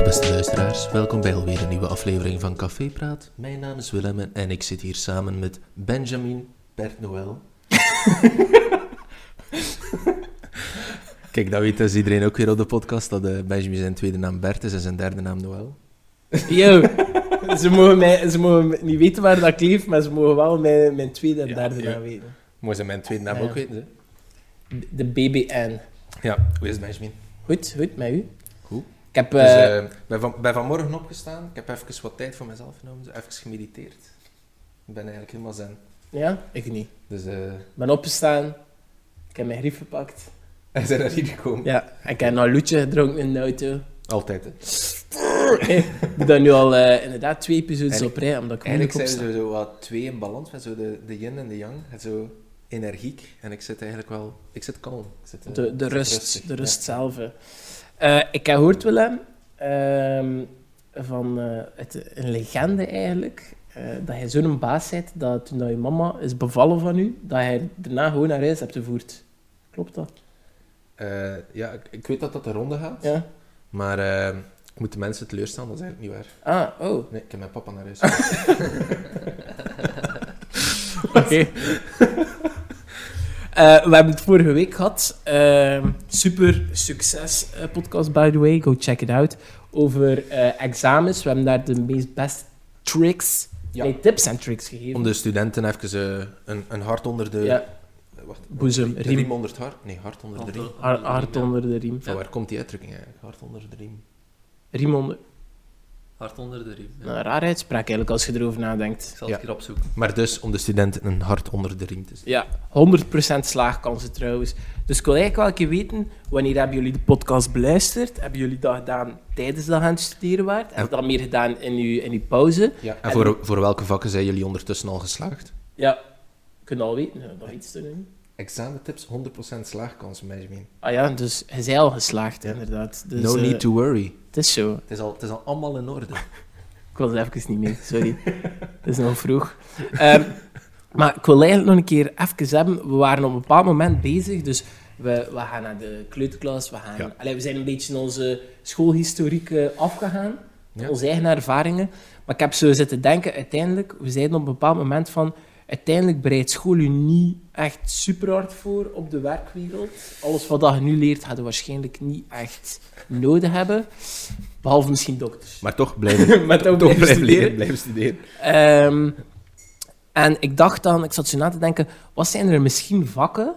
luisteraars, welkom bij alweer een nieuwe aflevering van Café Praat. Mijn naam is Willem en- en ik zit hier samen met Benjamin, Bert Noël. Kijk, dat weet dus iedereen ook weer op de podcast, dat eh, Benjamin zijn tweede naam Bert is en zijn derde naam Noël. Yo, ze mogen, mij, ze mogen mij niet weten waar dat ik leef, maar ze mogen wel mijn, mijn tweede en Ja, derde ja. naam weten. Mooi zijn mijn tweede naam Ja. ook weten, hè? De BBN. Ja, hoe is het Benjamin? Goed, goed, met u? Goed. Ik heb... Dus, eh, eh, ben, van, ben vanmorgen opgestaan, ik heb even wat tijd voor mezelf genomen, zo even gemediteerd. Ik ben eigenlijk helemaal zen. ja, ik niet. Dus, eh Ik ben opgestaan, ik heb mijn grief gepakt. en zijn er hier gekomen. Ja, en ik heb een loetje gedronken in de auto. Altijd, hè? Ik doe dat nu al eh, inderdaad twee episodes Eigenlijk- op rij, omdat ik moeilijk Eigenlijk zijn opsta. ze zo wat twee in balans, met zo de, de yin en de yang. Het Zo energiek. En ik zit eigenlijk wel... Ik zit kalm. Ik zit, eh, De, de ik zit rust, rustig, de rust ja. zelf. hè. Eh, ik heb gehoord, Willem, ehm, van eh, het, een legende eigenlijk, eh, dat je zo'n baas bent dat toen dat je mama is bevallen van u, dat je daarna gewoon naar huis hebt gevoerd. Klopt dat? Eh, ja, ik, ik weet dat dat de ronde gaat. Ja. Maar eh, ik moet de mensen teleurstaan, dat is eigenlijk niet waar. Ah, oh. Nee, ik heb mijn papa naar huis. gebracht. Oké. Eh, we hebben het vorige week gehad. ehm, super succes eh, podcast, by the way. Go check it out. Over eh, examens. We hebben daar de meest best tricks, Ja. nee, tips en tricks gegeven. Om de studenten even eh, een, een hart onder de... Ja, eh, Wacht, boezem, de riem, riem onder het hart? Nee, hart onder de riem. har- hart onder de riem. Van waar komt die uitdrukking eigenlijk? Hart onder de riem. Riem onder. Nou, Hard onder de riem. Ja. Een rare uitspraak eigenlijk, als je erover Ik nadenkt. zal Ja. het hier opzoeken. Maar dus om de studenten een hart onder de riem te zetten. Ja, 100% slaagkansen trouwens. Dus ik wil eigenlijk wel een keer weten, wanneer hebben jullie de podcast beluisterd? Hebben jullie dat gedaan tijdens dat je aan het studeren waart? Hebben jullie dat meer gedaan in uw, in uw pauze? Ja. En voor, voor welke vakken zijn jullie ondertussen al geslaagd? Ja, ik kan al weten, eh, nog iets te doen. Examentips 100% slaagkans, Benjamin. Ah ja, dus je bent al geslaagd, Ja. inderdaad. Dus, no eh, need to worry. Het is zo. Het is, al, het is al allemaal in orde. Ik was er even niet mee, sorry. Het is nog vroeg. Ehm, maar ik wil eigenlijk nog een keer even hebben. We waren op een bepaald moment bezig, dus we, we gaan naar de kleuterklas. We, gaan, Ja. Allee, we zijn een beetje in onze schoolhistoriek eh, afgegaan, Ja. onze eigen ervaringen. Maar ik heb zo zitten denken, uiteindelijk, we zeiden op een bepaald moment van... Uiteindelijk bereidt school u niet echt super hard voor op de werkwereld. Alles wat dat je nu leert, gaat je waarschijnlijk niet echt nodig hebben. Behalve misschien dokters. Maar toch blijven, Maar toch toch blijven blijven leren, studeren. blijven studeren. Ehm, en ik dacht dan, ik zat zo na te denken, wat zijn er misschien vakken,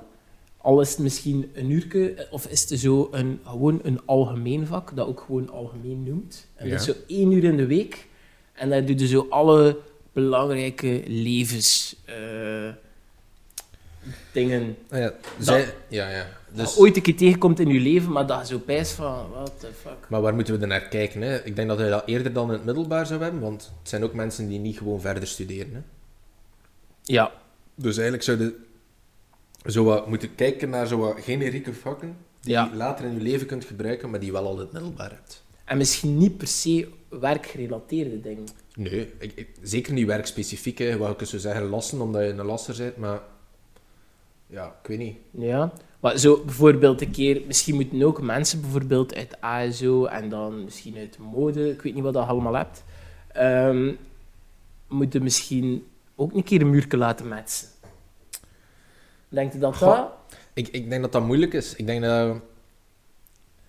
al is het misschien een uurke, eh, of is het zo een, gewoon een algemeen vak, dat ook gewoon algemeen noemt. En dat is Ja. zo één uur in de week, en daar doe je zo alle belangrijke levens... eh, dingen. Ah ja, zij, ja, ja. Dat Dus, je ooit een keer tegenkomt in je leven, maar dat je zo pijst van, what the fuck. maar waar moeten we er naar kijken? Hè? Ik denk dat hij dat eerder dan in het middelbaar zou hebben, want het zijn ook mensen die niet gewoon verder studeren. Hè? Ja, Dus eigenlijk zouden zo wat moeten kijken naar zo wat generieke vakken die Ja. je later in je leven kunt gebruiken, maar die je wel al in het middelbaar hebt. en misschien niet per se werkgerelateerde dingen. Nee, ik, ik- zeker niet werkspecifiek. Hè. Wat ik zou zeggen, lassen, omdat je een lasser bent, maar... Ja, ik weet niet. Ja, maar zo bijvoorbeeld een keer, misschien moeten ook mensen bijvoorbeeld uit ASO en dan misschien uit mode, ik weet niet wat dat je allemaal hebt, ehm, moeten misschien ook een keer een muurke laten metsen. Denkt u dat Goh. dat? Ik, ik denk dat dat moeilijk is. Ik denk dat,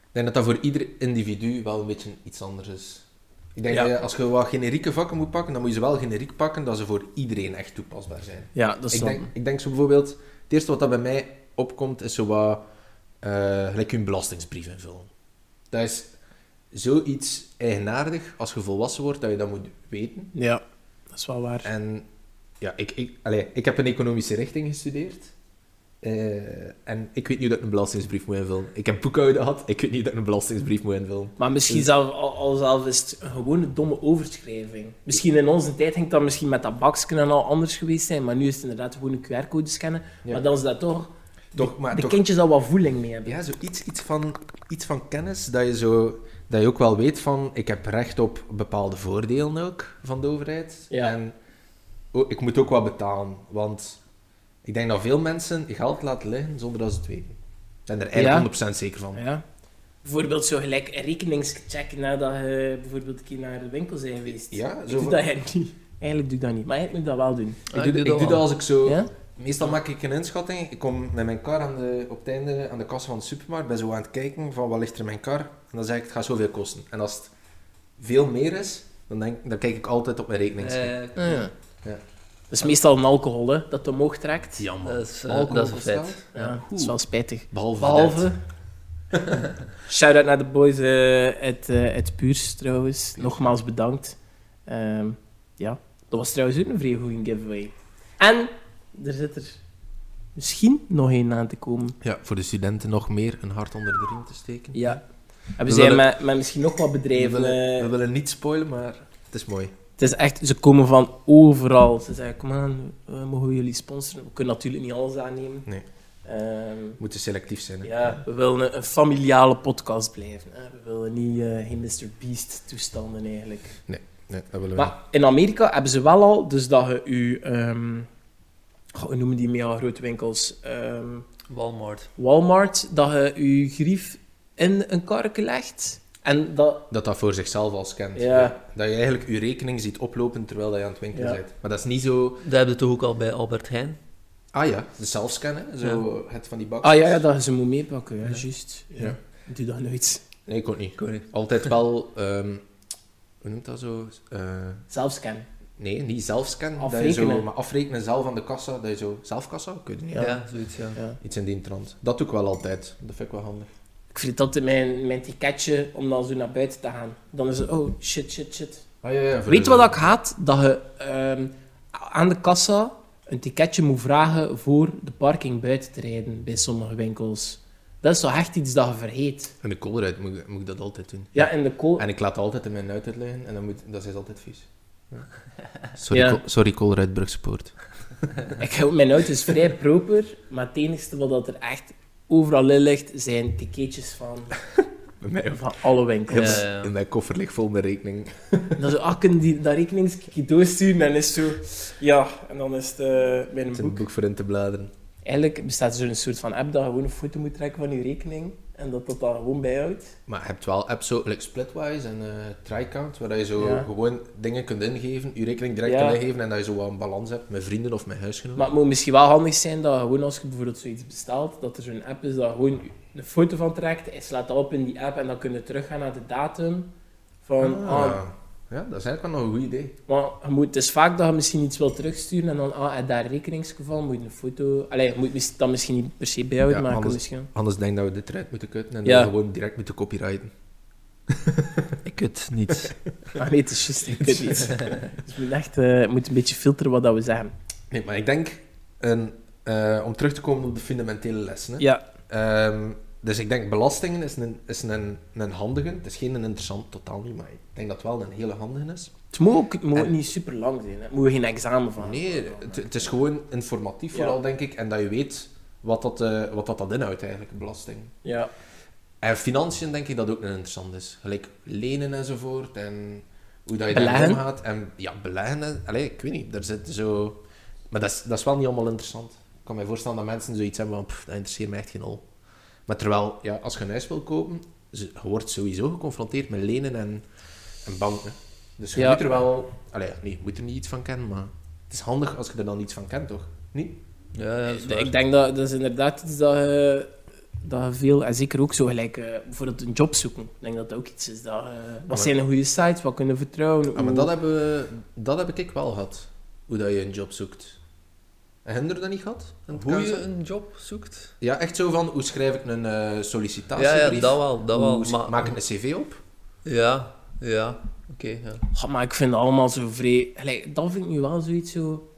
ik denk dat dat voor ieder individu wel een beetje iets anders is. Ik denk Ja. dat je, als je wat generieke vakken moet pakken, dan moet je ze wel generiek pakken dat ze voor iedereen echt toepasbaar zijn. Ja, dat Ik denk, ik denk zo bijvoorbeeld, het eerste wat dat bij mij opkomt is zo wat, eh gelijk je belastingsbrief invullen. Dat is zoiets eigenaardig als je volwassen wordt dat je dat moet weten. Ja, dat is wel waar. En ja, ik, ik, allee, ik heb een economische richting gestudeerd. Eh, en ik weet niet dat ik een belastingsbrief moet invullen. Ik heb boekhouden gehad, ik weet niet dat ik een belastingsbrief moet invullen. Maar misschien zelf, al, al zelf is het een gewone domme overschrijving. Misschien in onze tijd ging dat misschien met dat baksken en al anders geweest zijn, maar nu is het inderdaad gewoon een QR-code scannen. Ja. Maar dan is dat toch, Toch, maar de toch, kindjes al wat voeling mee hebben. ja, zoiets iets van, iets van kennis dat je, zo, dat je ook wel weet van, ik heb recht op bepaalde voordelen ook van de overheid. Ja. En oh, ik moet ook wat betalen, want ik denk dat veel mensen geld laten liggen zonder dat ze het weten. Ik ben er Ja. eigenlijk 100% zeker van. Ja. Bijvoorbeeld zo gelijk een rekeningscheck nadat je bijvoorbeeld een keer naar de winkel zijn geweest. Ja, Ik zo doe van- dat eigenlijk niet. Eigenlijk doe ik dat niet, maar eigenlijk moet ik dat wel doen. Ah, ik doe, ik doe dat als ik zo... Ja? Meestal maak ik een inschatting. Ik kom met mijn kar aan de, op het einde aan de kassa van de supermarkt. Ben zo aan het kijken van wat ligt er in mijn kar. En dan zeg ik, het gaat zoveel kosten. En als het veel meer is, dan, denk, dan kijk ik altijd op mijn rekening. Eh, Ah, ja. Ja. Dat is meestal een alcohol, hè, dat omhoog trekt. Jammer. dat is, eh, dat is een feit. Ja, dat is wel spijtig. Behalve, Behalve... net. Shout-out naar de boys eh uit, eh, uit Puurs, trouwens. Nogmaals bedankt. Ehm, ja, dat was trouwens ook een vrij goede giveaway. En er zit er misschien nog één aan te komen. Ja, voor de studenten nog meer een hart onder de riem te steken. Ja. En we We zijn willen- met, met misschien nog wat We bedrijven... willen, eh, we willen niet spoilen, maar het is mooi. Het is echt, ze komen van overal. Ze zeggen, kom aan, eh, mogen we jullie sponsoren? We kunnen natuurlijk niet alles aannemen. Nee. Ehm, We moeten selectief zijn. hè. ja, we willen een, een familiale podcast blijven. Hè. We willen niet eh geen Mr. Beast toestanden eigenlijk. Nee, dat willen we Maar in Amerika hebben ze wel al, dus dat je je... ehm, goh, hoe noemen die mega grote winkels? Ehm, Walmart. Walmart, dat je je grief in een karke legt. En dat... niet. Dat dat voor zichzelf al scant. Ja. Dat je eigenlijk je rekening ziet oplopen terwijl dat je aan het winkelen Ja. bent. Maar dat is niet zo... Dat hebben we toch ook al bij Albert Heijn? Ah ja, de zelfscannen. Zo het van die bakjes. Ah ja, ja, dat je ze moet meepakken. Ja. Oh, Ja. Juist. Ja. Ja. Doe dat nooit. Nee, ik ook niet. Ik weet niet. Altijd wel, ehm, hoe noemt dat zo? Eh, Zelfscan. nee, niet zelfscan. Dat je Afrekenen. zo, maar afrekenen zelf aan de kassa. Dat je zo, zelfkassa? Ik weet het niet. Ja. Ja, zoiets, ja. Ja. Iets in die trant. Dat doe ik wel altijd. Dat vind ik wel handig. Ik vind dat mijn, mijn ticketje om dan zo naar buiten te gaan. Dan is het, oh shit, shit, shit. Ah, ja, ja, voor Weet je de- wat ik haat? Dat je ehm, aan de kassa een ticketje moet vragen voor de parking buiten te rijden bij sommige winkels. Dat is toch echt iets dat je vergeet. In de koolruit moet, ik- moet ik dat altijd doen. Ja, in de kool. En ik laat altijd in mijn uitheid liggen en dan moet, dat is altijd vies. Ja. Sorry, Ja. Ko- sorry Koolruit Brugspoort. Ik, hou- mijn auto is vrij proper, maar het enige wat dat er echt overal in ligt, zijn ticketjes van, Bij mij van alle winkels. Ja, ja, ja. In mijn koffer ligt vol mijn rekening. Dan zo, ah, kunnen die dat rekeningskietje doorsturen? En is zo, ja, en dan is het eh, Het mijn is boek. een boek voor in te bladeren. Eigenlijk bestaat er zo'n soort van app dat je gewoon een foto moet trekken van je rekening en dat dat dan gewoon bijhoudt. Maar je hebt wel apps zo, like Splitwise en eh Tricount, waar je zo Ja. gewoon dingen kunt ingeven, je rekening direct Ja. kunt ingeven en dat je zo wel een balans hebt met vrienden of met huisgenoten. Maar het moet misschien wel handig zijn dat je gewoon als je bijvoorbeeld zoiets bestelt, dat er zo'n app is dat je gewoon een foto van trekt, en slaat dat op in die app en dan kun je teruggaan naar de datum. Van, ah. Ah. ja, dat is eigenlijk wel nog een goed idee. maar je moet, het is vaak dat je misschien iets wilt terugsturen en dan, ah, in dat rekeningsgeval moet je een foto... Allee, je moet mis- dat misschien niet per se bijhouden, Ja, maar je kan anders- misschien... Anders denk ik dat we dit eruit moeten cutten en Ja. dat we gewoon direct moeten copyrighten. Ik het niet. Ah nee, het is juist, ik weet niet. Dus je moet echt eh, je moet een beetje filteren wat dat we zeggen. Nee, maar ik denk, een, eh, om terug te komen op de fundamentele lessen, hè. Ja, Ehm, dus ik denk belastingen is, een, is een, een handige. Het is geen een interessant totaal niet, maar ik denk dat het wel een hele handige is. Het moet ook het moet En- niet super lang zijn. hè. Het moet geen examen van. Nee, het, het is gewoon informatief Ja. vooral, denk ik. En dat je weet wat dat, eh, wat dat, dat inhoudt eigenlijk, belasting. Ja. En financiën denk ik dat ook een interessant is. Gelijk lenen enzovoort en hoe dat je Beleggen? daarmee omgaat. En ja, beleggen. en- Allee, ik weet niet, daar zit zo... Maar dat is, dat is wel niet allemaal interessant. Ik kan me voorstellen dat mensen zoiets hebben van, pff, dat interesseert mij echt geen hol. Maar terwijl, ja, als je een huis wil kopen, ze- je wordt sowieso geconfronteerd met lenen en, en banken. Dus je Ja. moet er wel... Allee, nee, je moet er niet iets van kennen, maar het is handig als je er dan iets van kent, toch? Niet? Ja, ja, dat is waar. ik denk dat dat is inderdaad iets dat je, dat je veel, en zeker ook zo gelijk eh, bijvoorbeeld een job zoeken. Ik denk dat dat ook iets is. Dat, eh, wat maar- zijn de goede sites, wat kunnen we vertrouwen? Ah, maar hoe- dat, hebben we, dat heb ik wel gehad. Hoe dat je een job zoekt. En Hinder dat niet gehad? In het Hoe je kansel? een job zoekt? Ja, echt zo van, hoe schrijf ik een eh Ja, sollicitatiebrief? ja, dat wel, dat wel. Hoe s- Maar, maak ik een cv op? Ja, ja. Oké, ja. Goh, Ah, maar ik vind het allemaal zo vrij... Gelijk, dat vind ik nu wel zoiets zo...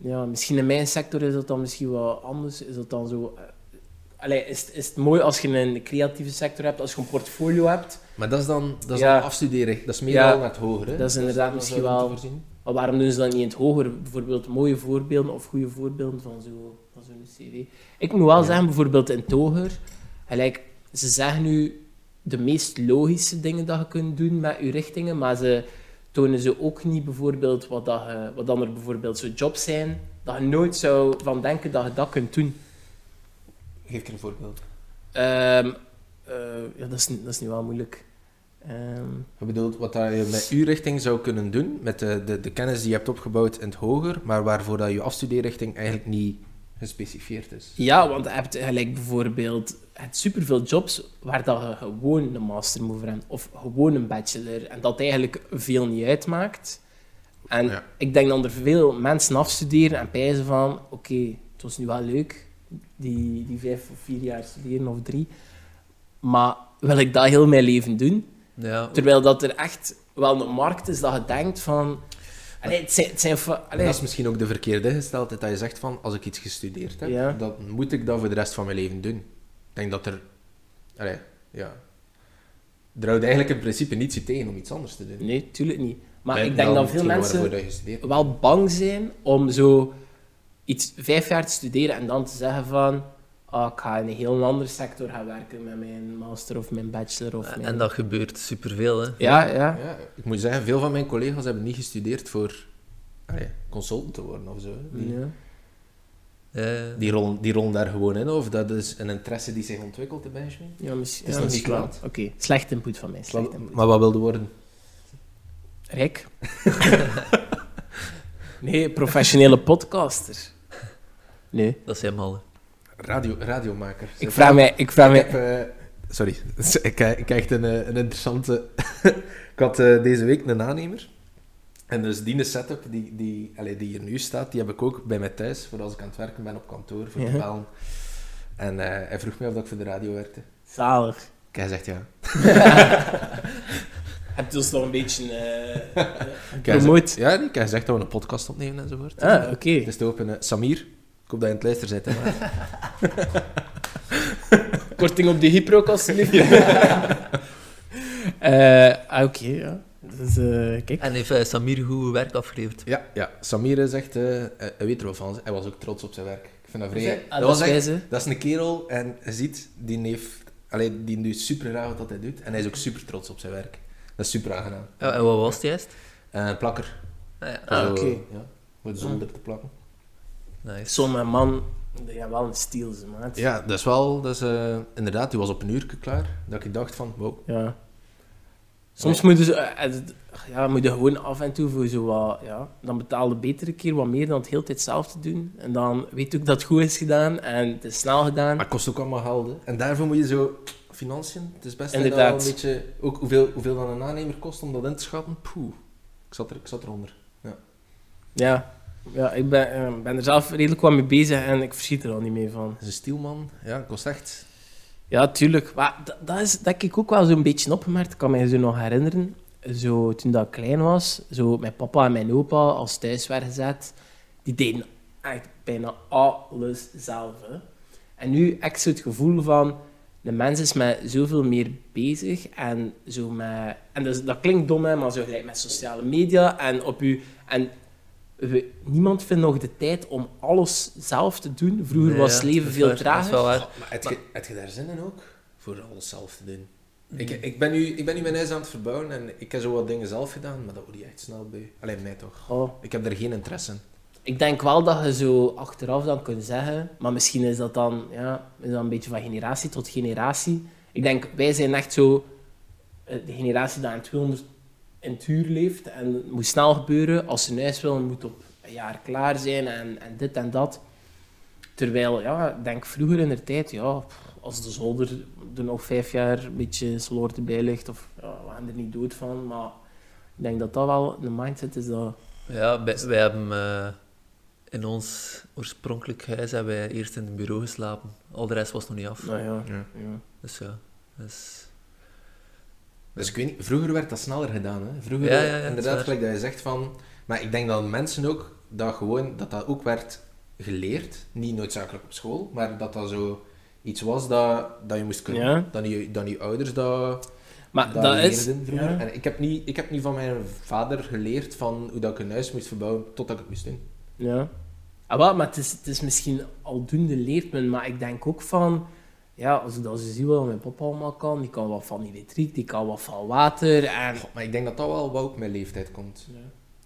Ja, misschien in mijn sector is dat dan misschien wel anders. Is dat dan zo... eh, allee, is, het- is het mooi als je een creatieve sector hebt, als je een portfolio hebt... Maar dat is dan, dat is Ja. dan afstuderen. Dat is meer Ja. al naar het hoger. Hè? Dat is inderdaad misschien zou je wel- moeten voorzien. Maar waarom doen ze dat niet in het hoger? Bijvoorbeeld mooie voorbeelden of goede voorbeelden van zo- van zo'n CV. Ik moet wel Ja. zeggen, bijvoorbeeld in het hoger, gelijk, ze zeggen nu de meest logische dingen dat je kunt doen met je richtingen, maar ze tonen ze ook niet bijvoorbeeld wat, dat je, wat dan er bijvoorbeeld zo jobs zijn, dat je nooit zou van denken dat je dat kunt doen. Geef ik er een voorbeeld. Ehm, eh, ja, dat, is, niet- dat is nu wel moeilijk. Ehm, Ik bedoel, wat dat je met uw richting zou kunnen doen, met de, de, de kennis die je hebt opgebouwd in het hoger, maar waarvoor dat je afstudeerrichting eigenlijk niet gespecificeerd is. ja, want je hebt gelijk bijvoorbeeld je hebt superveel jobs waar dat je gewoon een master moet voor hebben, of gewoon een bachelor. En dat eigenlijk veel niet uitmaakt. En Ja. ik denk dat er veel mensen afstuderen en pijzen van... Oké, het was nu wel leuk, die, die vijf of vier jaar studeren of drie. Maar wil ik dat heel mijn leven doen? Ja, Terwijl dat er echt wel een markt is dat je denkt van... Allee, het zijn... Het zijn fa- allee, Dat is misschien ook de verkeerde gesteldheid dat je zegt van, als ik iets gestudeerd heb, Ja. dan moet ik dat voor de rest van mijn leven doen. Ik denk dat er... Allee, ja. Er houdt eigenlijk in principe niets je tegen om iets anders te doen. Nee, tuurlijk niet. Maar Bij- ik denk wel dat veel hetgeen mensen waarvoor dat je studeert. wel bang zijn om zo iets vijf jaar te studeren en dan te zeggen van... Ah, ik ga in een heel andere sector gaan werken met mijn master of mijn bachelor of mijn... Eh, en dat gebeurt superveel, hè. Ja, ja. Ja, ik moet zeggen, veel van mijn collega's hebben niet gestudeerd voor allee, consultant te worden of zo. Hmm. Die, Ja. Ja, die, rollen, die rollen daar gewoon in, of dat is een interesse die zich ontwikkelt in Benjamin. Ja, misschien. Het is ja, nog niet misschien wel. laat. Oké, slecht input van mij. Slecht input. Maar wat wilde worden? Rick? nee, professionele podcaster. Nee. dat is helemaal... hè. Radio, radiomaker. Ik vraag mij... Ik vraag Ik mij... heb, eh, sorry, ik krijg ik krijg echt een, eh, een interessante... ik had eh, deze week een aannemer. En dus die setup die, die, allee, die hier nu staat, die heb ik ook bij mij thuis, voor als ik aan het werken ben op kantoor, voor Ja. te bellen. En eh, hij vroeg mij of dat ik voor de radio werkte. Zalig. Ik heb gezegd ja. Heb je ons nog een beetje eh, Ik heb gezegd- gepromoot? Ja, nee, ik heb gezegd dat we een podcast opnemen enzovoort. Ah, oké. Het is te open. eh, Samir, ik hoop dat je in het luister zit. Hè, maar. Korting op de hypro, alsjeblieft. Eh, ah, oké, ja. Dus, eh, kijk. En heeft eh, Samir goed werk afgeleverd? ja, ja, Samir is echt... eh, eh, hij weet er wel van. Hij was ook trots op zijn werk. Ik vind dat vrij... Ah, dat was is echt- wijs, hè. Dat is een kerel en je ziet, die heeft... Allee, die doet super raar wat dat hij doet. En hij is ook super trots op zijn werk. Dat is super aangenaam. Ja, en wat was het juist? Eh, een plakker. Ah, ja. Ah, Zo, oké. Ja, voor de zon er te plakken. Nice. Sommige man, die hebben wel een stiel, ze maat. Ja, dat is wel... Dat is, eh, inderdaad, die was op een uur klaar. Dat ik dacht van, wow. Ja. Soms moeten ze, eh, eh, ja, moet je gewoon af en toe voor zo wat, ja, dan betaalde betere keer wat meer dan het heel de tijd zelf te doen. En dan weet je ook dat het goed is gedaan en het is snel gedaan. Maar het kost ook allemaal geld. hè. En daarvoor moet je zo... Financiën, het is best dat je Inderdaad. dat wel een beetje... Ook hoeveel, hoeveel dan een aannemer kost om dat in te schatten. Poeh. Ik zat, er, ik zat eronder. Ja, ja ik ben, eh, ben er zelf redelijk wat mee bezig en ik verschiet er al niet meer van. Dat is een stielman. Ja, kost echt... Ja, tuurlijk. Maar dat, dat is dat heb ik ook wel zo'n beetje opgemerkt. Ik kan mij zo nog herinneren. Zo, toen dat ik klein was, zo mijn papa en mijn opa als thuis werden gezet, die deden echt bijna alles zelf. hè. En nu heb ik zo het gevoel van, de mens is met zoveel meer bezig en zo met... En dat, is- dat klinkt dom, hè, maar zo gelijk met sociale media en op u... En we- niemand vindt nog de tijd om alles zelf te doen. Vroeger Nee, was ja, het leven dat is veel waar, Dat is trager. wel waar. Oh, maar heb je, heb je daar zin in ook? Voor alles zelf te doen. Ik, ik, ben nu, ik ben nu mijn huis aan het verbouwen en ik heb zo wat dingen zelf gedaan, maar dat word je echt snel bij. Alleen mij toch. Goh. Ik heb daar geen interesse in. Ik denk wel dat je zo achteraf dan kunt zeggen, maar misschien is dat dan, ja, is dat een beetje van generatie tot generatie. Ik denk, wij zijn echt zo eh, de generatie die aan 200 in het uur leeft en het moet snel gebeuren. Als ze een huis willen, moet op een jaar klaar zijn en, en dit en dat. Terwijl, ja, ik denk vroeger in de tijd, ja, pff, als de zolder er nog vijf jaar een beetje slordig bij ligt, of ja, we gaan er niet dood van, maar ik denk dat dat wel een mindset is dat... Ja, wij, wij hebben eh, in ons oorspronkelijk huis hebben wij eerst in het bureau geslapen. Al de rest was nog niet af. Nou ja, Ja. ja. Dus ja, dus, Dus ik weet niet, vroeger werd dat sneller gedaan. Hè? Vroeger, Ja, ja, ja, dat is inderdaad, waar. gelijk dat je zegt van... Maar ik denk dat mensen ook, dat gewoon, dat dat ook werd geleerd. Niet noodzakelijk op school, maar dat dat zo iets was dat, dat je moest kunnen. Ja. Dan, je, dan je ouders dat, Maar dat dat, is... leerden vroeger. ja. En ik heb, niet, ik heb niet van mijn vader geleerd van hoe dat ik een huis moest verbouwen, totdat ik het moest doen. Ja. Ah, wel, maar het is, het is misschien aldoende leert men, maar ik denk ook van... Ja, als ik dat zo zie wat mijn papa allemaal kan, die kan wat van elektriek, die kan wat van water en... Goh, maar ik denk dat dat wel wat ook met leeftijd komt.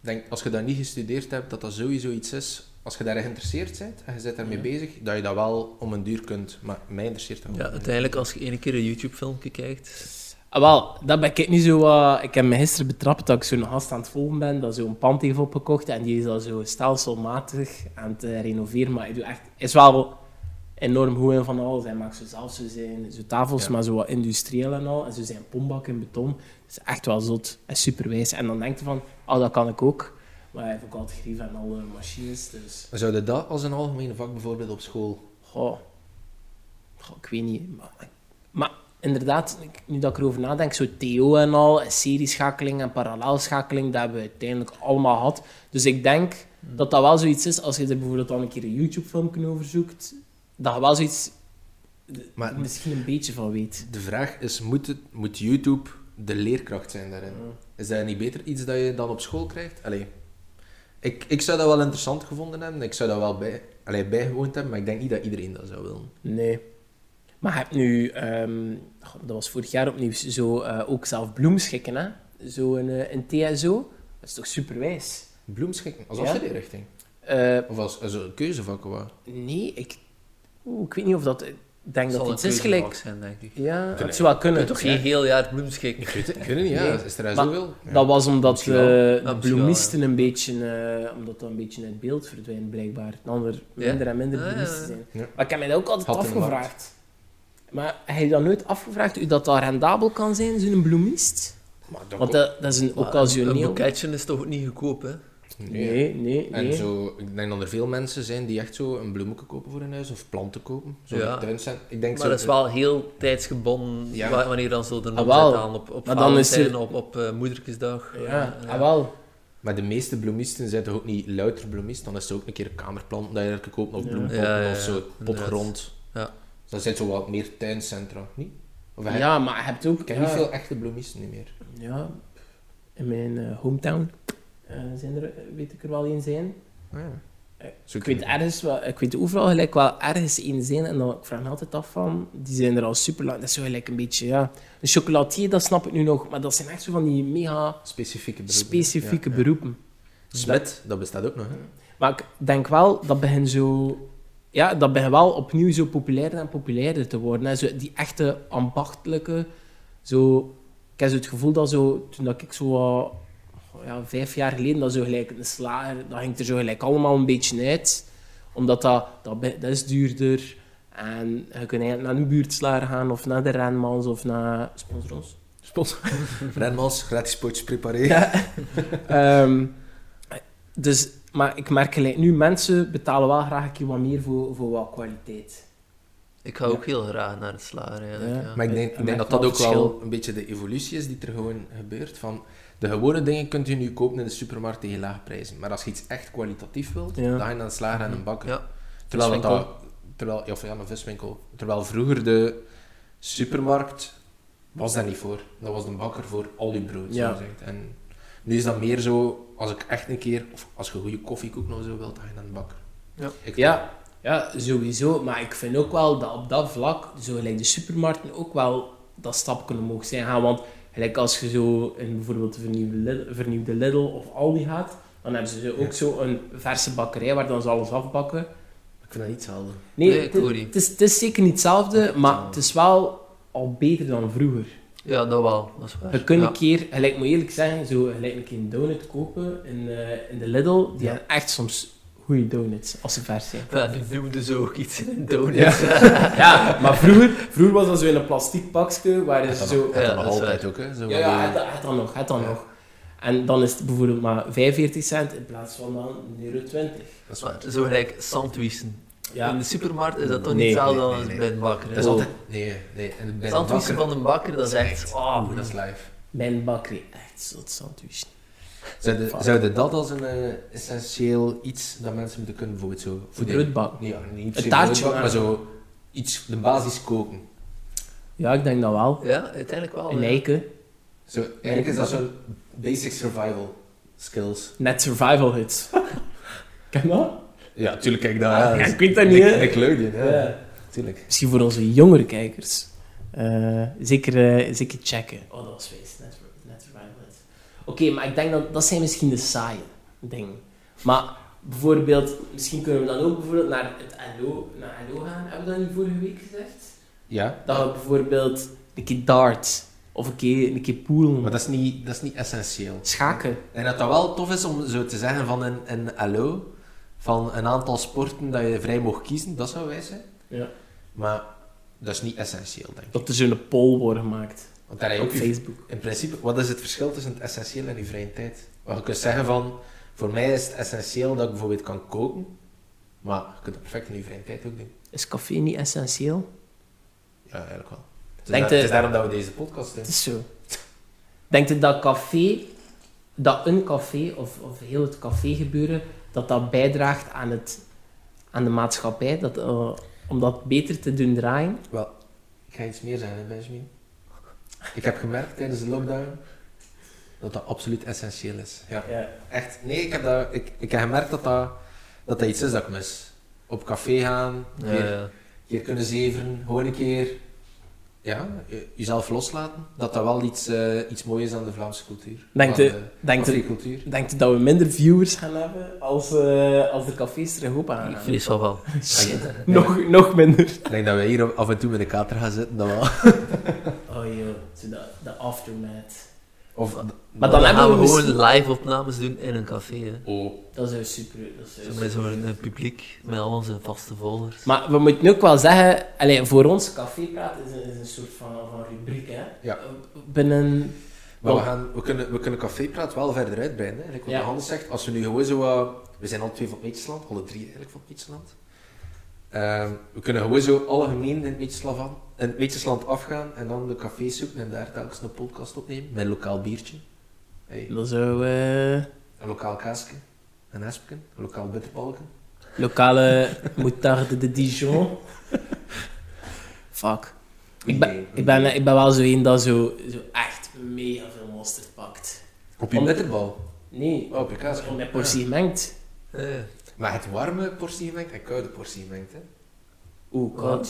Ik denk, als je dat niet gestudeerd hebt, dat dat sowieso iets is als je daar geïnteresseerd bent en je bent daarmee Ja. bezig, dat je dat wel om een duur kunt. Maar mij interesseert dat Ja, ook. uiteindelijk als je één keer een YouTube-filmpje kijkt... Ah, wel, dat ben ik niet zo... eh, ik heb me gisteren betrapt dat ik zo'n gast aan het volgen ben, dat zo'n pand heeft opgekocht en die is al zo stelselmatig aan het eh, renoveren. Maar hij doet echt, is wel enorm goed in van alles. Hij maakt zo zelf zo zijn zo tafels, Ja. maar zo wat industrieel en al. En zo zijn pombak in beton. Dat is echt wel zot en superwijs. En dan denkt hij van, ah, dat kan ik ook. Maar hij heeft ook al het grief en alle machines, dus... Zou je dat als een algemene vak bijvoorbeeld op school? Goh. Goh, ik weet niet. Maar, maar inderdaad, ik- nu dat ik erover nadenk, zo Theo en al, en serieschakeling en parallelschakeling, dat hebben we uiteindelijk allemaal gehad. Dus ik denk dat dat wel zoiets is, als je er bijvoorbeeld dan een keer een YouTube-filmpje over zoekt, dat je wel zoiets Maar- misschien een beetje van weet. De vraag is: moet, het, moet YouTube de leerkracht zijn daarin? Is dat niet beter iets dat je dan op school krijgt? Allee, ik, ik zou dat wel interessant gevonden hebben. Ik zou dat wel bij, allee, bijgewoond hebben, maar ik denk niet dat iedereen dat zou willen. Nee. Maar je hebt nu, ehm, goh, dat was vorig jaar opnieuw, zo eh, ook zelf bloemschikken, hè? Zo een, eh, een TSO. Dat is toch superwijs? Bloemschikken, als Ja. afstudeerrichting. Eh, Of als, als een keuzevak of wat. Nee, ik, oeh, ik weet niet of dat. Ik denk zal dat een iets is keuzevak gelijk. zijn, denk ik. Je Ja, Kunnen. het zou wel kunnen. kunt toch ja. geen heel jaar bloemschikken? Ik weet het, ik weet het niet, ja. Nee. Is er Maar zoveel? Ja. Dat was omdat Misschien eh, wel. de misschien wel, bloemisten een beetje, eh, omdat dat een beetje uit beeld verdwijnt, blijkbaar. Dan er minder en minder Ah, ja. bloemisten zijn. Ja. Maar ik heb mij dat ook altijd Gat in de markt. afgevraagd. Maar heb je dat nooit afgevraagd, u dat dat rendabel kan zijn, zo'n bloemist? Maar dat Want ook- dat, dat is een Maar Een occasioneel... boeketje is toch ook niet goedkoop, hè? eh, Nee. Nee, nee, En nee. zo, ik denk dat er veel mensen zijn die echt zo een bloemetje kopen voor hun huis of planten kopen. Zo Ja. ja. tuincent. Ik denk Maar zo, dat is wel heel tijdsgebonden Ja. wa- wanneer dan zo de Ah, omzet wel. aan op, op Maar dan is Valentijn, er- op, op eh, Moedertjesdag. Ja, Eh, ah, wel. Maar de meeste bloemisten zijn toch ook niet louter bloemisten? Dan is het ook een keer een kamerplant dat je kunt kopen of Ja. bloempotten Ja, ja, ja, of zo, inderdaad. potgrond. Ja. Dus dat zijn zo wat meer tuincentra, niet? Of heb- Ja, maar je hebt ook... Ik ken ja. niet veel echte bloemisten niet meer. Ja, in mijn eh, hometown eh, zijn er, eh, weet ik er wel één zijn. Eh, Zo Ik weet ergens wel, ik weet overal gelijk wel ergens één zijn en dan ik vraag me altijd af van, die zijn er al super lang. Dat is zo gelijk een beetje, ja. Een chocolatier, dat snap ik nu nog, maar dat zijn echt zo van die mega Specifieke beroepen. specifieke Ja, ja. beroepen. Smet, dat bestaat ook nog. Hè? Maar ik denk wel, dat begint zo... Ja, dat begint wel opnieuw zo populairder en populairder te worden. Hè. Zo, die echte ambachtelijke... Zo, ik heb zo het gevoel dat zo... Toen dat ik zo... wat, ja, vijf jaar geleden, dat zo gelijk een slager... Dat ging er zo gelijk allemaal een beetje uit. Omdat dat... Dat, be- dat is duurder. En je kunt eigenlijk naar een buurtslager gaan. Of naar de Renmans. Of naar... Sponsor ons. Sponsor. Renmals, gratis potjes prepareren. Ja. Ehm, dus, maar ik merk gelijk nu, mensen betalen wel graag een keer wat meer voor, voor wat kwaliteit. Ik ga ook heel graag naar de slager, eigenlijk. Ja. Ja. Maar ik denk, Je ik denk merkt dat dat wel ook verschil. wel een beetje de evolutie is die er gewoon gebeurt. Van de gewone dingen kunt je nu kopen in de supermarkt tegen lage prijzen. Maar als je iets echt kwalitatief wilt, Ja. dan ga je naar de slager en een bakker. Ja. Terwijl, dat, Viswinkel. terwijl, ja, of ja, een viswinkel. Terwijl vroeger de supermarkt was daar niet voor. Dat was de bakker voor al die brood, Ja. zo gezegd. En nu is dat meer zo, als ik echt een keer, of als je goede koffiekoek nog zo wilt, dan ga je naar de bakker. Ja. Ik- Ja, ja, sowieso. Maar ik vind ook wel dat op dat vlak, zo gelijk de supermarkten, ook wel dat stap kunnen mogen zijn gaan. Want gelijk als je zo in bijvoorbeeld de vernieuwde Lidl, vernieuwde Lidl of Aldi gaat, dan hebben ze zo ook Ja. zo een verse bakkerij waar dan ze alles afbakken. Ik vind dat niet hetzelfde. Nee, Nee, het, ik hoor je. het is, het is zeker niet hetzelfde, maar het is wel al beter dan vroeger. ja, dat wel. Dat is waar. Je kunt Ja. een keer, gelijk moet eerlijk zeggen, zo gelijk een keer een donut kopen in, eh, in de Lidl. Die Ja. hebben echt soms goede donuts, als ze vers zijn. Ja, die noemden ze ook iets in donut. Ja. ja, maar vroeger, vroeger was dat zo in een plastic pakje, waar ze dat zo... nog, dat ja, nog dat is altijd ook, hè. Zo Ja, van ja, die- het, het dan nog, het dan Ja. nog. En dan is het bijvoorbeeld maar 45 cent in plaats van dan 1,20 euro. dat is waar. Maar Zo gelijk sandwichen. In Ja. de supermarkt is dat toch Nee, niet hetzelfde nee, dan nee, nee. bij een bakker. hè? Dat is Oh. altijd... Nee, nee. En bij de Sandwichen bakker- van een bakker, dat is echt... oh, ah, Dat is live. Mijn bakkerij, echt zo'n sandwich. Zouden, zouden dat als een eh, essentieel iets dat mensen moeten kunnen, bijvoorbeeld zo... voeding- Broodbak. Nee, ja, niet Een een taartje taartje, maar zo iets, de basis koken. Ja, ik denk dat wel. Ja, uiteindelijk wel. Een ja. eiken. Zo, eigenlijk is dat zo'n basic survival skills. Net survival hits. Ken dat? Ja, tuurlijk kijk Ja, ik weet dat niet, hè. Nickelodeon, Ja. Tuurlijk. Misschien voor onze jongere kijkers. Eh, zeker, eh, zeker checken. Oh, dat was feest. Net, net survival. Oké, maar ik denk dat dat zijn misschien de saaie dingen. Maar Bijvoorbeeld, misschien kunnen we dan ook bijvoorbeeld naar het LO, naar LO gaan, hebben we dat niet vorige week gezegd? Ja. Dat we bijvoorbeeld een keer dart, of een keer, een keer poelen, Maar dat is niet, dat is niet essentieel. schaken. En dat dat wel tof is om zo te zeggen van een, een LO, van een aantal sporten dat je vrij mag kiezen, dat zou wij zijn. Ja. Maar dat is niet essentieel, denk ik. Dat er zo'n poll wordt gemaakt Want daar heb je op ook je- Facebook. in principe, wat is het verschil tussen het essentieel en je vrije tijd? Want je kunt zeggen van, voor mij is het essentieel dat ik bijvoorbeeld kan koken, maar je kunt dat perfect in je vrije tijd ook doen. Is café niet essentieel? Ja, eigenlijk wel. Het is, Denk daar- de- het is daarom dat we deze podcast doen. Het is zo. Denk je dat café, dat een café of, of heel het café gebeuren, dat dat bijdraagt aan, het, aan de maatschappij, dat, eh, om dat beter te doen draaien? Wel, ik ga iets meer zeggen, hè, Benjamin. Ik heb gemerkt tijdens de lockdown dat dat absoluut essentieel is. Ja. Echt, nee, ik heb, dat, ik, ik heb gemerkt dat dat, dat dat iets is dat ik mis. Op café gaan, Ja, hier, ja. hier kunnen zeveren, gewoon een keer ja, je- jezelf loslaten. Dat dat wel iets, eh, iets moois is aan de Vlaamse cultuur. Denk Aan je- de Denk je cafécultuur. denk je dat we minder viewers gaan hebben als, eh, als de cafés terug open gaan? Ik vrees van wel. Shit, nog, nog minder. Ik denk dat we hier af en toe met de kater gaan zitten, dat wel. Oh joh, zo de, de aftermath. Of, Maar dan hebben gaan we we misschien- gewoon live opnames doen in een café. Hè. Oh, Dat is echt super. Dat is echt Zo met super. zo'n eh, publiek, met al onze vaste volgers. Maar we moeten ook wel zeggen, allee, voor ons, cafépraat is een, is een soort van, van rubriek, hè? Ja. Eh, Binnen... Maar we, gaan, we, kunnen, we kunnen cafépraat wel verder uitbreiden. Hè. Like wat Oh. Ja. Johannes zegt, als we nu gewoon zo... eh, we zijn alle twee van Meetsland, alle drie eigenlijk van Meetsland. Ehm, we kunnen gewoon zo algemeen in Meetsland, van, in Meetsland afgaan en dan de cafés zoeken en daar telkens een podcast opnemen met een lokaal biertje. Hey, Dan zo eh, een lokaal kaasje, een hespken, een lokaal bitterbalken. lokale moutarde de Dijon. Fuck. Ik ben, ik, ben, ik ben wel zo één dat zo, zo echt mega veel mosterd pakt. Op je Om- bitterbal? Nee, Oh, op je kaasje. om met portie mengt. Eh, Maar het warme portie gemengd en koude portie gemengd. Hè. Oeh, koud.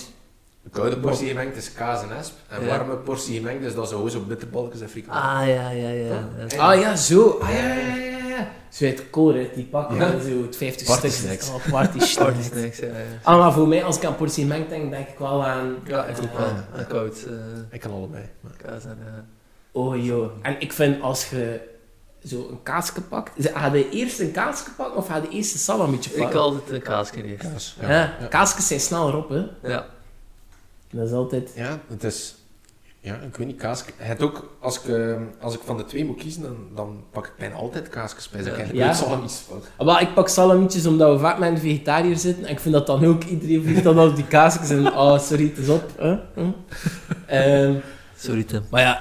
De koude portie gemengd is kaas en hesp. En Ja. warme portie gemengd is dat zo zo bitterbalkjes en frikandelletjes. Ah, ja, ja, ja. Toch? ja. Ah ja, zo. Ah ja, ja, ja. ja. Zo uit koren, die pakken Ja. zo het 50 Party stuk. snacks. Oh, party snacks. Party snacks, ja, ja. Ah, maar voor mij, als ik aan portie mengt denk, denk ik wel aan... Ja, ik ook wel. Ja. Aan koud. eh, Ik kan allebei. Maar... kaas en... eh, Oh joh. En ik vind, als je zo een kaasje pakt... ze- Had je eerst een kaasje pakken of had je eerst een salamietje pakken? Ik altijd eh, een kaasje eerst. Kaas. Ja. Kaasjes zijn snel erop, hè. Ja. Dat is altijd... Ja, het is... Ja, ik weet niet, kaas... Het ook, als ik, eh, als ik van de twee moet kiezen, dan, dan pak ik bijna altijd kaasjes bij. Dan Ja. krijg ik Ja. nooit salamis van. Ah, Maar ik pak salamietjes omdat we vaak met een vegetariër zitten. En ik vind dat dan ook iedereen vliegt dan op die kaasjes. En oh, sorry, het is op. hè? Hm? Ehm, Sorry, Tim. Maar ja,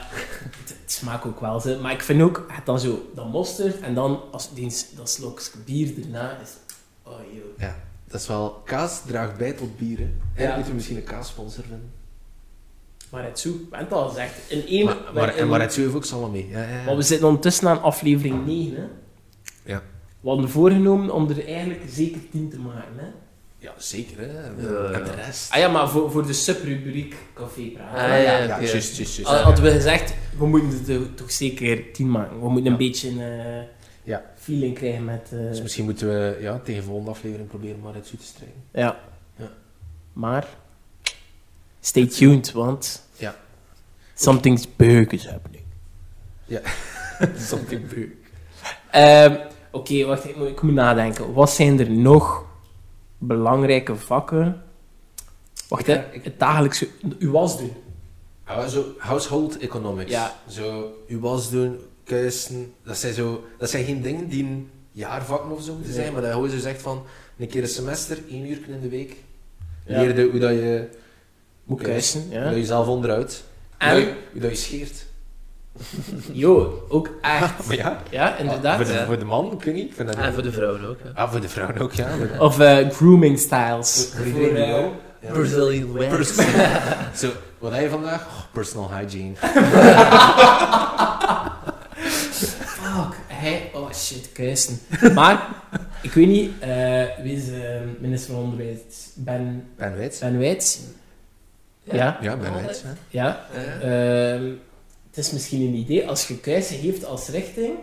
het, het smaakt ook wel. Ze. Maar ik vind ook, het dan zo, dat mosterd en dan als die, dat slokje bier erna is. Oh joh. Ja, dat is wel... Kaas draagt bij tot bieren. En Ja. moeten we misschien een kaassponsor vinden. Maar het zo, we hebben het al gezegd. In één, Maar, maar, en in- waar het zo heeft ook salami. Ja, ja, ja. maar we zitten ondertussen aan aflevering 9. Hè? Ja. We hadden voorgenomen om er eigenlijk zeker 10 te maken. Hè? Ja, zeker, hè. En Ja, de ja. rest. Ah ja, maar voor, voor de subrubriek café praten. Dus, eh, Ah, ja, ja, oké. juist, juist, juist. Al- Hadden we gezegd, we moeten er toch zeker 10 maken. We moeten een Ja. beetje een eh, Ja. feeling krijgen met. eh, Dus misschien moeten we ja, tegen de volgende aflevering proberen maar het zo te strijken. Ja. Ja. Maar stay tuned, want Ja. something big is happening. Something big. Ehm, Oké, wacht, ik moet, ik moet nadenken. Wat zijn er nog belangrijke vakken? Ik Wacht, hè, ga- ik- het dagelijkse... Uw was doen. Ja, zo household economics. Ja. Zo je was doen, kuisen. Dat zijn, zo, dat zijn geen dingen die een jaarvakken of zo moeten Nee. zijn, maar dat je gewoon zo zegt van een keer een semester, één uur in de week. Ja. Leer je hoe dat je Moet kuisen, ja. hoe dat je jezelf onderuit. Hoe, dat En, je, hoe dat je scheert. yo, ook echt. Ah, Maar ja, Ja, voor, inderdaad. de, ja. voor de man, ik weet niet. Ik vind dat En voor de vrouwen ook, hè. Ah, voor de vrouwen ook, ja. Voor, Of eh, grooming styles. voor iedereen die eh, wil. Ja. Brazilian wax. Pers- Zo, wat heb je vandaag? Oh, personal hygiene. Fuck, hij, oh shit, kuisen. Maar, ik weet niet, eh, wie is eh, minister van Onderwijs? Ben, Ben Wijts. ben Wijts? Ja. Ja, Ben Wijts. hè. Ja. Eh, Ehm, het is misschien een idee, als je kuisen heeft als richting,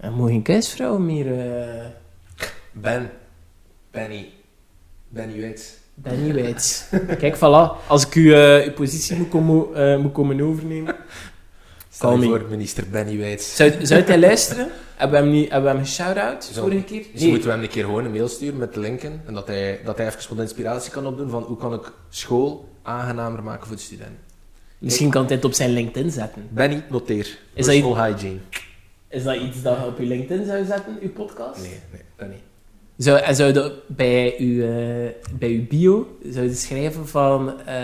dan moet je geen kuisvrouw meer... eh, Ben, Benny. Benny weet. Benny Weitz. Kijk, voilà. Als ik uw, eh, uw positie moet komen, eh, moet komen overnemen... Stel Call je me. voor, minister Benny weet. Zou, zou hij luisteren? Hebben we hem, niet, hebben we hem geshout-out Zo. vorige keer? Dus moeten we hem een keer gewoon een mail sturen met de linken. En dat hij, dat hij even wat inspiratie kan opdoen van hoe kan ik school aangenamer maken voor de student. Misschien kan hij het op zijn LinkedIn zetten. Benny, noteer. Is dat Personal hygiene. Is dat iets dat je op je LinkedIn zou zetten, uw podcast? Nee, nee, dat niet. Zou, en zou je bij, uw, eh, bij uw bio zou je schrijven van... eh,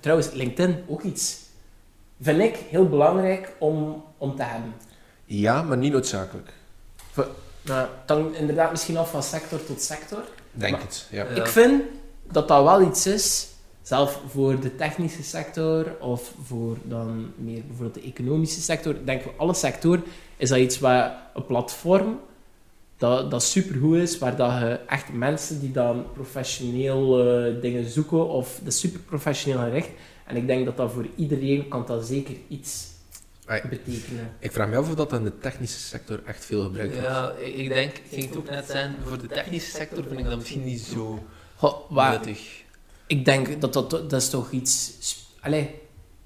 trouwens, LinkedIn, ook iets. Vind ik heel belangrijk om, om te hebben. Ja, maar niet noodzakelijk. Nou, het hangt inderdaad misschien af van sector tot sector. Denk Maar- het, ja. Ja. Ik vind dat dat wel iets is, zelf voor de technische sector of voor dan meer bijvoorbeeld de economische sector. Ik denk voor alle sectoren is dat iets waar een platform dat, dat supergoed is, waar dat je echt mensen die dan professioneel eh, dingen zoeken of dat is super professioneel gericht. En ik denk dat dat voor iedereen kan dat zeker iets Ai. betekenen. Ik vraag me af of dat in de technische sector echt veel gebruikt wordt. Ja, ik ik denk, ik ging het ook net zijn, voor de technische sector vind ik dat misschien niet zo Goh, waar, nuttig. Ik denk dat dat, dat is toch iets... sp- Allee,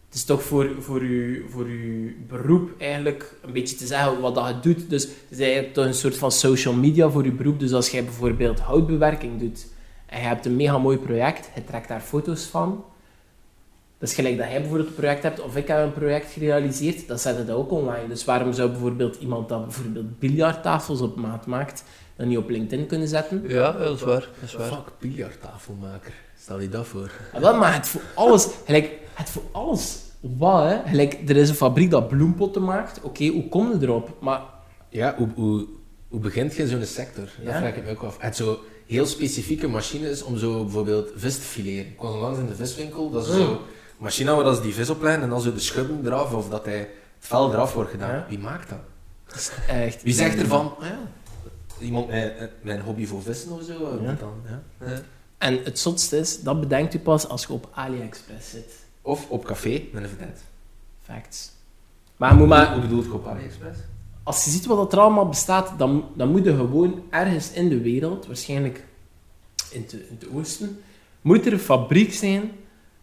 het is toch voor, voor, uw, voor uw beroep eigenlijk een beetje te zeggen wat dat je doet. Dus het is eigenlijk toch een soort van social media voor je beroep. Dus als jij bijvoorbeeld houtbewerking doet en je hebt een mega mooi project, je trekt daar foto's van. Dat is gelijk dat jij bijvoorbeeld een project hebt of ik heb een project gerealiseerd, dan zet je dat ook online. Dus waarom zou bijvoorbeeld iemand dat bijvoorbeeld biljarttafels op maat maakt, dan niet op LinkedIn kunnen zetten? Ja, dat is waar. Dat is waar. Fuck, biljarttafelmaker. Stel je dat voor. Ja, wel, maar het voor alles, gelijk, het voor alles, wat hè? Gelijk, er is een fabriek dat bloempotten maakt, oké, hoe kom je erop? Maar Ja, hoe, hoe, hoe begint je in zo'n sector? Dat Ja. vraag ik me ook af. Het zo heel specifieke machines om zo bijvoorbeeld vis te fileren. Ik was onlangs in de viswinkel, dat is Mm. zo machine waar dat ze die vis opleiden en dan zo de schubben eraf of dat hij het vel eraf wordt gedaan. Ja. Wie maakt dat? het is eh, echt... Wie zegt ervan, "Ah ja, iemand met eh, mijn hobby voor vissen of zo? eh, Ja. doet Dan, ja. Ja. En het zotste is, dat bedenkt u pas als je op AliExpress zit. Of op café met een vedette. Facts. Maar, je moet maar Hoe bedoel je op AliExpress? als je ziet wat er allemaal bestaat, dan, dan moet je gewoon ergens in de wereld, waarschijnlijk in, te, in het oosten, moet er een fabriek zijn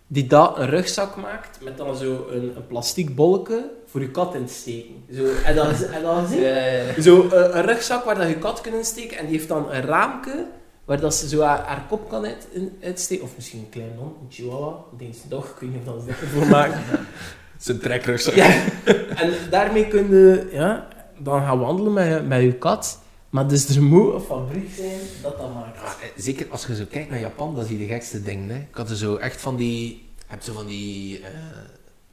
die dat een rugzak maakt met dan zo een, een plastic bolletje voor je kat in te steken. Zo, en dan, en dan zie je Ja, ja, ja. Zo, eh, een rugzak waar dat je kat kan insteken en die heeft dan een raamke waar dat ze zo haar, haar kop kan uit, in- uitsteken. Of misschien een klein hond, een chihuahua, een Deense dog, ik weet niet of dat ze dat ervoor maken. Zijn trekrugzak. Ja. En daarmee kun je ja, dan gaan wandelen met, je- met je kat. Maar dus er moet een fabriek zijn dat dat maakt. Ja, eh, zeker als je zo kijkt naar Japan, dat is die de gekste dingen. Hè. Ik had er zo echt van die... Heb zo van die... eh,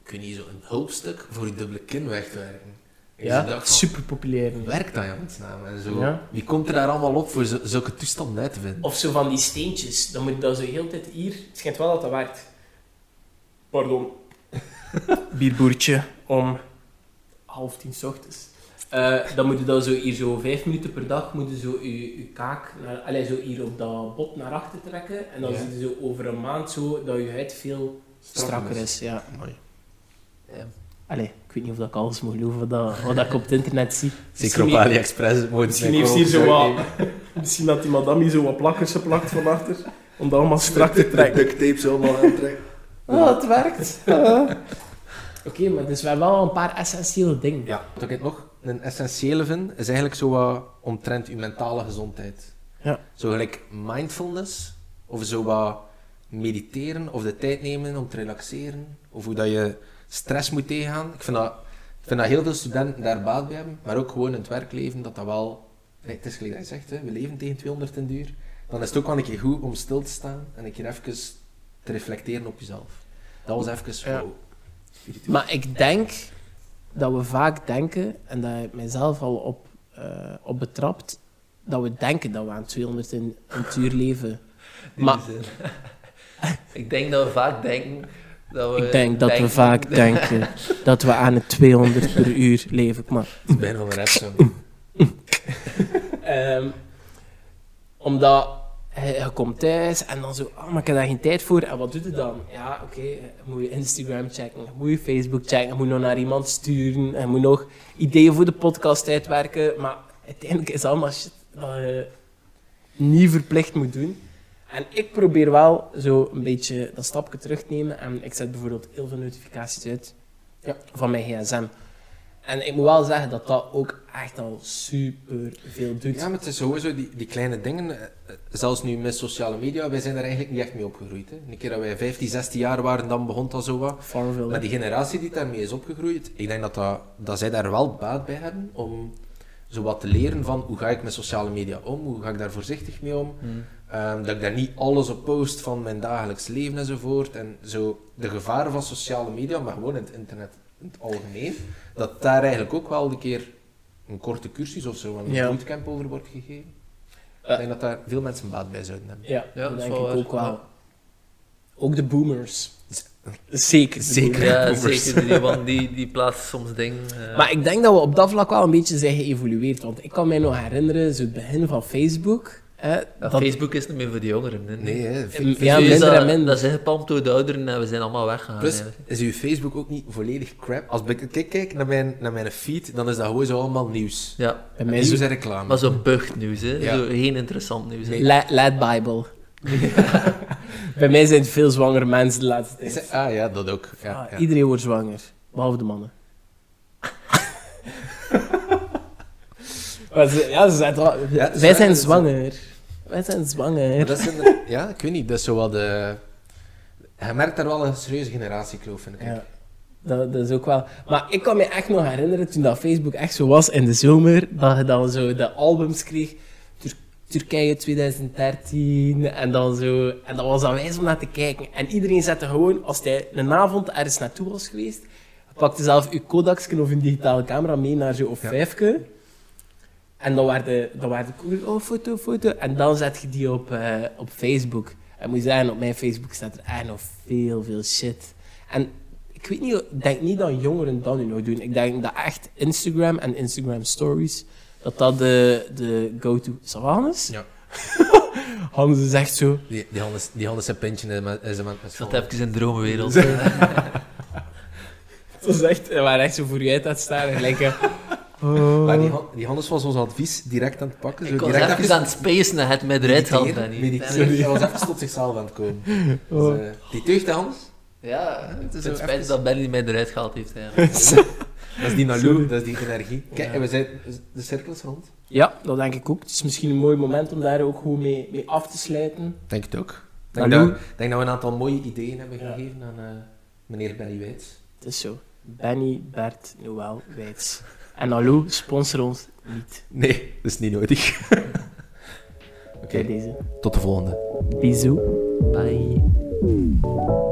ik weet niet, zo een hulpstuk voor je dubbele kin weg te werken. En Ja, ze dacht van, super populair. hoe werkt dat in godsnaam? En zo, Ja. Wie komt er daar allemaal op voor zo- zulke toestanden uit te vinden? Of zo van die steentjes. Dan moet je dat zo heel de tijd hier. Het schijnt wel dat dat werkt. Pardon. Bierboertje om half tien 's ochtends. Eh, dan moet je dat zo hier zo vijf minuten per dag moet je zo je, je kaak naar, allez, zo hier op dat bot naar achter trekken. En dan Ja. zie je zo over een maand zo dat je huid veel strakker is. Ja. Ehm, Amai. Ja. Allee, ik weet niet of dat ik alles moet geloven wat, wat ik op het internet zie. Zeker op AliExpress. het mooiste Misschien zijn heeft hier zo kopen, wat- zou ik Misschien dat die madame zo wat plakkers geplakt van achter. Om dat allemaal strak te nemen. trekken. Duct tape zo allemaal aantrekken. Oh, het werkt. Ah. Oké, maar dus we hebben wel een paar essentiële dingen. Ja. Wat ik het nog een essentiële vind, is eigenlijk zo wat omtrent uw mentale gezondheid. Ja. Zo gelijk mindfulness, of zo wat mediteren, of de tijd nemen om te relaxeren, of hoe dat je stress moet tegengaan. Ik vind dat, ik vind dat heel veel studenten daar baat bij hebben, maar ook gewoon in het werkleven, dat dat wel... Nee, het is gelijk dat je zegt, hè, we leven tegen 200 en duur. Dan is het ook wel een keer goed om stil te staan en een keer even te reflecteren op jezelf. Dat was even... Ja. wow. Maar ik denk dat we vaak denken, en daar heb ik mezelf al op, eh, op betrapt, dat we denken dat we aan 200 in een uur leven. Die Maar- zin. ik denk dat we vaak denken dat we... ik denk dat we vaak denken dat we aan het 200 per uur leven. Maar Het is bijna van een rap zo. Ehm, omdat hij, hij komt thuis en dan zo, ah, maar ik heb daar geen tijd voor. En wat doet hij dan? Ja, oké, eh, moet je Instagram checken, moet je Facebook checken, moet nog naar iemand sturen, en moet nog ideeën voor de podcast uitwerken. Maar uiteindelijk is allemaal shit dat je niet verplicht moet doen. En ik probeer wel zo een beetje dat stapje terug te nemen. En ik zet bijvoorbeeld heel veel notificaties uit Ja. van mijn gsm. En ik moet wel zeggen dat dat ook echt al super veel doet. Ja, maar het is sowieso die, die kleine dingen. eh, eh, Zelfs nu met sociale media, wij zijn er eigenlijk niet echt mee opgegroeid. Hè. Een keer dat wij 15, 16 jaar waren, dan begon dat zo wat. Farmville. Maar die generatie die daarmee is opgegroeid, ik denk dat, dat, dat zij daar wel baat bij hebben om zo wat te leren van hoe ga ik met sociale media om, hoe ga ik daar voorzichtig mee om. Hmm. Ehm, dat ik daar niet alles op post van mijn dagelijks leven enzovoort. En zo de gevaren van sociale media, maar gewoon in het internet in het algemeen, dat daar eigenlijk ook wel een keer een korte cursus of zo, een Ja. bootcamp over wordt gegeven. Ja. Ik denk dat daar veel mensen baat bij zouden hebben. Ja, Ja, dat dat is denk ik wel waar, ook wel. ja. Ook de boomers. Zeker. de Zeker. boomers. Ja, boomers. zeker. Die, want die, die plaatst soms dingen. eh, Maar ik denk dat we op dat vlak wel een beetje zijn geëvolueerd. Want ik kan mij nog herinneren, zo het begin van Facebook. Hè, ja, dat- Facebook is niet meer voor de jongeren. hè. Nee, hè. Ja, Fe- Dus nu is minder dat, en minder. Dat is ingepalmd door de ouderen en we zijn allemaal weggegaan. Plus, eigenlijk. is uw Facebook ook niet volledig crap? Als ik kijk, kijk naar, mijn, naar mijn feed, dan is dat gewoon zo allemaal nieuws. Ja, Bij mij Nieuws is en reclame. maar zo'n buchtnieuws, hè. Ja. Zo, geen interessant nieuws. hè. Lad, Bible. Bij mij zijn het veel zwangere mensen de laatste tijd. Is dat- ah ja, dat ook. Ja, Ah, ja. Iedereen wordt zwanger, behalve de mannen. Maar ze- ja, ze zijn toch- het is wij waar, zijn dat is- zwanger. Wij zijn Maar zwanger. dat is een- ja, ik weet niet. Dat is zo wat. eh, je merkt daar wel een serieuze generatiekloof in. Ja, dat, dat is ook wel. Maar ik kan me echt nog herinneren toen dat Facebook echt zo was in de zomer, dat je dan zo de albums kreeg. Tur- Turkije 2013 en dan zo. En dat was dan wijs om naar te kijken. En iedereen zette gewoon, als hij een avond ergens naartoe was geweest, pakte zelf uw Kodaksken of een digitale camera mee naar zo of Ja. vijfke. En dan werden dan werd ik ook, oh, foto, foto. En dan zet je die op, eh, op Facebook. En moet je zeggen, op mijn Facebook staat er echt nog veel, veel shit. En ik weet niet, ik denk niet dat jongeren dat nu nog doen. Ik denk dat echt Instagram en Instagram Stories, dat dat de, de go-to... Savannes? Ja. Hans is echt zo... Die, die, Hannes, die Hannes zijn pintje en zijn- en zijn man. Ik zat even in de droomwereld. Het was echt... eh, Waar echt zo voor je uit had staan en gelijk... eh, Maar die, Han- die Hannes was ons advies direct aan het pakken. Zo Ik was direct even aan het spacen en het met eruit haalt mediteren, dat niet. Oh. mediteren. Hij was even tot zichzelf aan het komen. Dus, eh, die teugt, hè, Hannes? Ja, het is zo het even- spijt dat Benny mij eruit gehaald heeft. eigenlijk. Dat is die Sorry. Nalou, dat is die energie. Kijk, Ja. en we zijn de cirkels rond. Ja, dat denk ik ook. Het is misschien een mooi moment om daar ook goed mee, mee af te sluiten. Denk het ook. Denk Nalou. dat, denk dat we een aantal mooie ideeën hebben Ja. gegeven aan eh, meneer Benny Wijts. Het is zo. Benny, Bert, Noël, Wijts. En hallo, sponsor ons niet Nee, dat is niet nodig. Oké, bij deze. tot de volgende. Bisous. Bye.